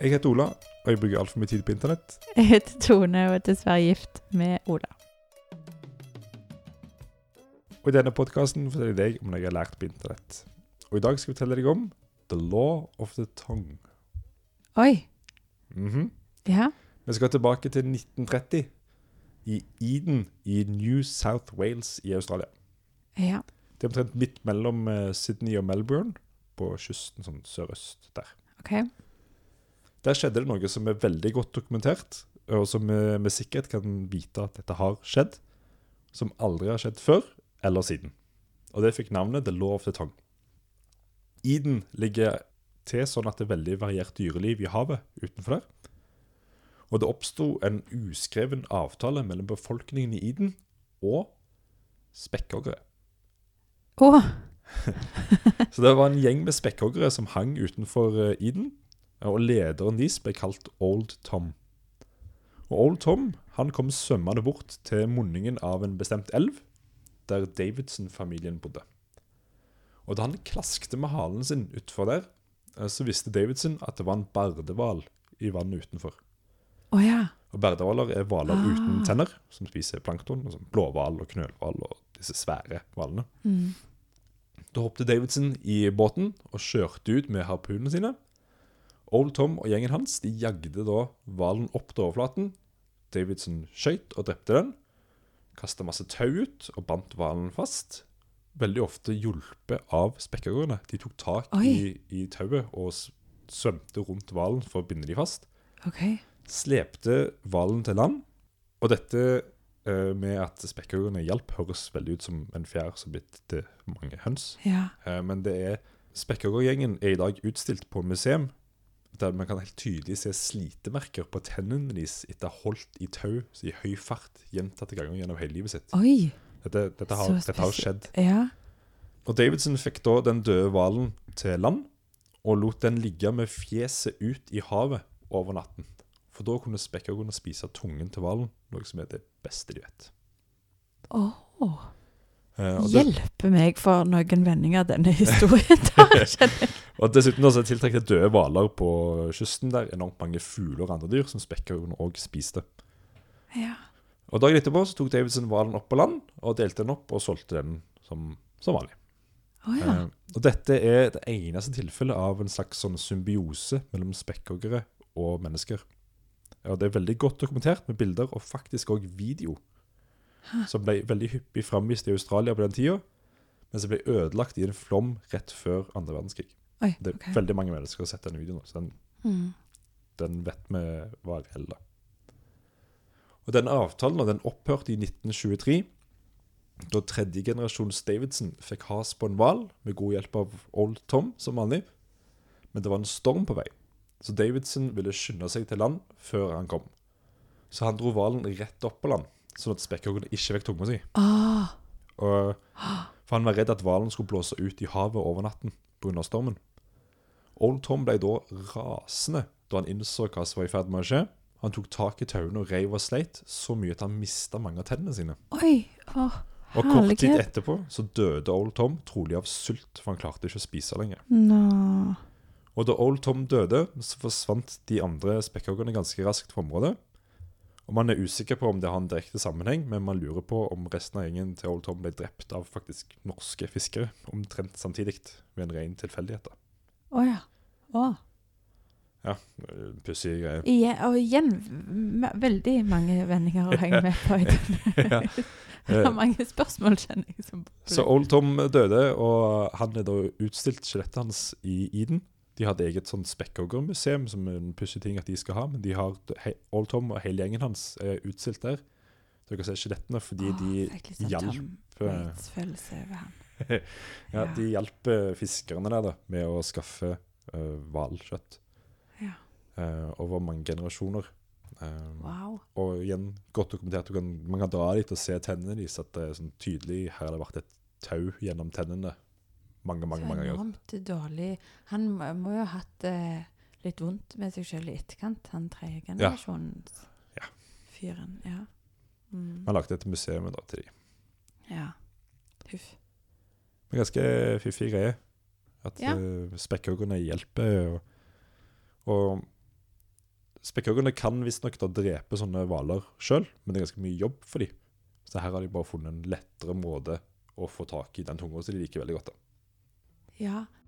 Jeg heter Ola, og jeg bruker altfor mye tid på internett. Jeg heter Tone og er dessverre gift med Ola. Og i denne podkasten forteller jeg deg om noe jeg har lært på internett. Og i dag skal jeg fortelle deg om The Law of the Tongue. Oi. Mhm. Ja. Vi skal tilbake til 1930, i Eden i New South Wales i Australia. Ja. Det er omtrent midt mellom eh, Sydney og Melbourne, på kysten sånn sørøst der. OK. Der skjedde det noe som er veldig godt dokumentert, og som vi med sikkerhet kan vite at dette har skjedd, som aldri har skjedd før eller siden. Og det fikk navnet The Law of the Tongue. Eden ligger til sånn at det er veldig variert dyreliv i havet utenfor der. Og det oppsto en uskreven avtale mellom befolkningen i Eden og spekkhoggere. Å. Så det var en gjeng med spekkhoggere som hang utenfor eh, Eden, og lederen deres ble kalt Old Tom. Og Old Tom han kom svømmende bort til munningen av en bestemt elv, der Davidson-familien bodde. Og da han klaskte med halen sin utfor der, eh, så visste Davidson at det var en bardehval i vannet utenfor. Å ja. Og berdehvaler er hvaler Ah. uten tenner, som spiser plankton, og som blåhval og knølhval og disse svære hvalene. Mm. Da hoppte Davidson i båten og kjørte ut med harpunene sine. Old Tom og gjengen hans de jagde da hvalen opp til overflaten. Davidson skøyt og drepte den. Kasta masse tau ut og bandt hvalen fast. Veldig ofte hjulpet av spekkhoggerne. De tok tak i, i tauet og s- svømte rundt hvalen for å binde de fast OK. slepte hvalen til land. Og dette eh, med at spekkhoggerne hjalp, høres veldig ut som en fjær som blitt til mange høns. Ja. Eh, men det er spekkhoggergjengen er i dag utstilt på museum, der man kan helt tydelig se slitemerker på tennene deres etter holdt i tau i høy fart gjentatte ganger gjennom hele livet sitt. Oi. Dette, dette, har, Så dette har spesielt. skjedd. Ja. Og Davidson fikk da den døde hvalen til land, og lot den ligge med fjeset ut i havet over natten. For da kunne spekkhoggerne spise tungen til hvalen, noe som er det beste de vet. Å. Eh, og, det, Hjelpe meg for noen vendinger denne historien tar, kjenner jeg. og dessuten da så tiltrakk det døde hvaler på kysten der enormt mange fugler og andre dyr som spekkhoggerne òg spiste. Ja. Og dagen etterpå så tok Davidson hvalen opp på land, og delte den opp og solgte den som, som vanlig. Å Ah, ja. Eh, og dette er det eneste tilfellet av en slags sånn symbiose mellom spekkhoggere og mennesker. Ja, det er veldig godt dokumentert med bilder og faktisk òg video, som ble veldig hyppig framvist i Australia på den tida, men som ble ødelagt i en flom rett før andre verdenskrig. Oi. Det er OK. veldig mange mennesker som har sett den videoen, så den, Mm. den vet vi var reell. da. Og den avtalen da, den opphørte i 1923, da tredje generasjons Davidson fikk has på en hval med god hjelp av Old Tom som vanlig. Men det var en storm på vei, så Davidson ville skynde seg til land før han kom. Så han dro hvalen rett opp på land, sånn at spekkhoggerne ikke fikk tunga si. Åh. Og, for han var redd at hvalen skulle blåse ut i havet over natten pga. stormen. Old Tom ble da rasende da han innså hva som var i ferd med å skje. Han tok tak i tauene og reiv og sleit så mye at han mista mange av tennene sine. Oi. Åh. Og kort tid Herlighet. etterpå så døde Old Tom trolig av sult, for han klarte ikke å spise lenger. Nå. Og da Old Tom døde, så forsvant de andre spekkhoggerne ganske raskt fra området. Og Man er usikker på om det har en direkte sammenheng, men man lurer på om resten av gjengen til Old Tom ble drept av faktisk norske fiskere omtrent samtidig, ved en ren tilfeldighet. da. Å ja. Å. Ja, øh, pussige greier. Igjen, og igjen m- veldig mange vendinger å henge med på. i den. Ja. Det Eh, er mange spørsmål, kjenner jeg. Som Så Old Tom døde, og han er da utstilt skjelettet hans i Eden. De hadde eget sånn spekkhoggermuseum, som er en pussig ting at de skal ha. Men de har, he, Old Tom og hele gjengen hans er utstilt der. Så dere ser skjelettene Ah, fordi de, hjalp, eh, Følelse over ham. ja, ja. de hjalp eh, fiskerne der da, med å skaffe eh, hvalkjøtt Ja. eh, over mange generasjoner. Eh, Wow. Og igjen, godt dokumentert. Du kan, man kan dra dit og se tennene deres. At det er sånn tydelig her har det vært et tau gjennom tennene mange, mange så mange ganger. enormt dårlig. Han må, må jo ha hatt eh, litt vondt med seg sjøl i etterkant, han tredjegenerasjons Ja. fyren. Ja. Mm. Man lagde et museum da til de. ja. Huff. Men ganske fiffig greie. At Ja. eh, spekkhoggerne hjelper. Og, og Spekkhoggerne kan visstnok da drepe sånne hvaler sjøl, men det er ganske mye jobb for dem. Så her har de bare funnet en lettere måte å få tak i den tunga som de liker veldig godt. da. Ja,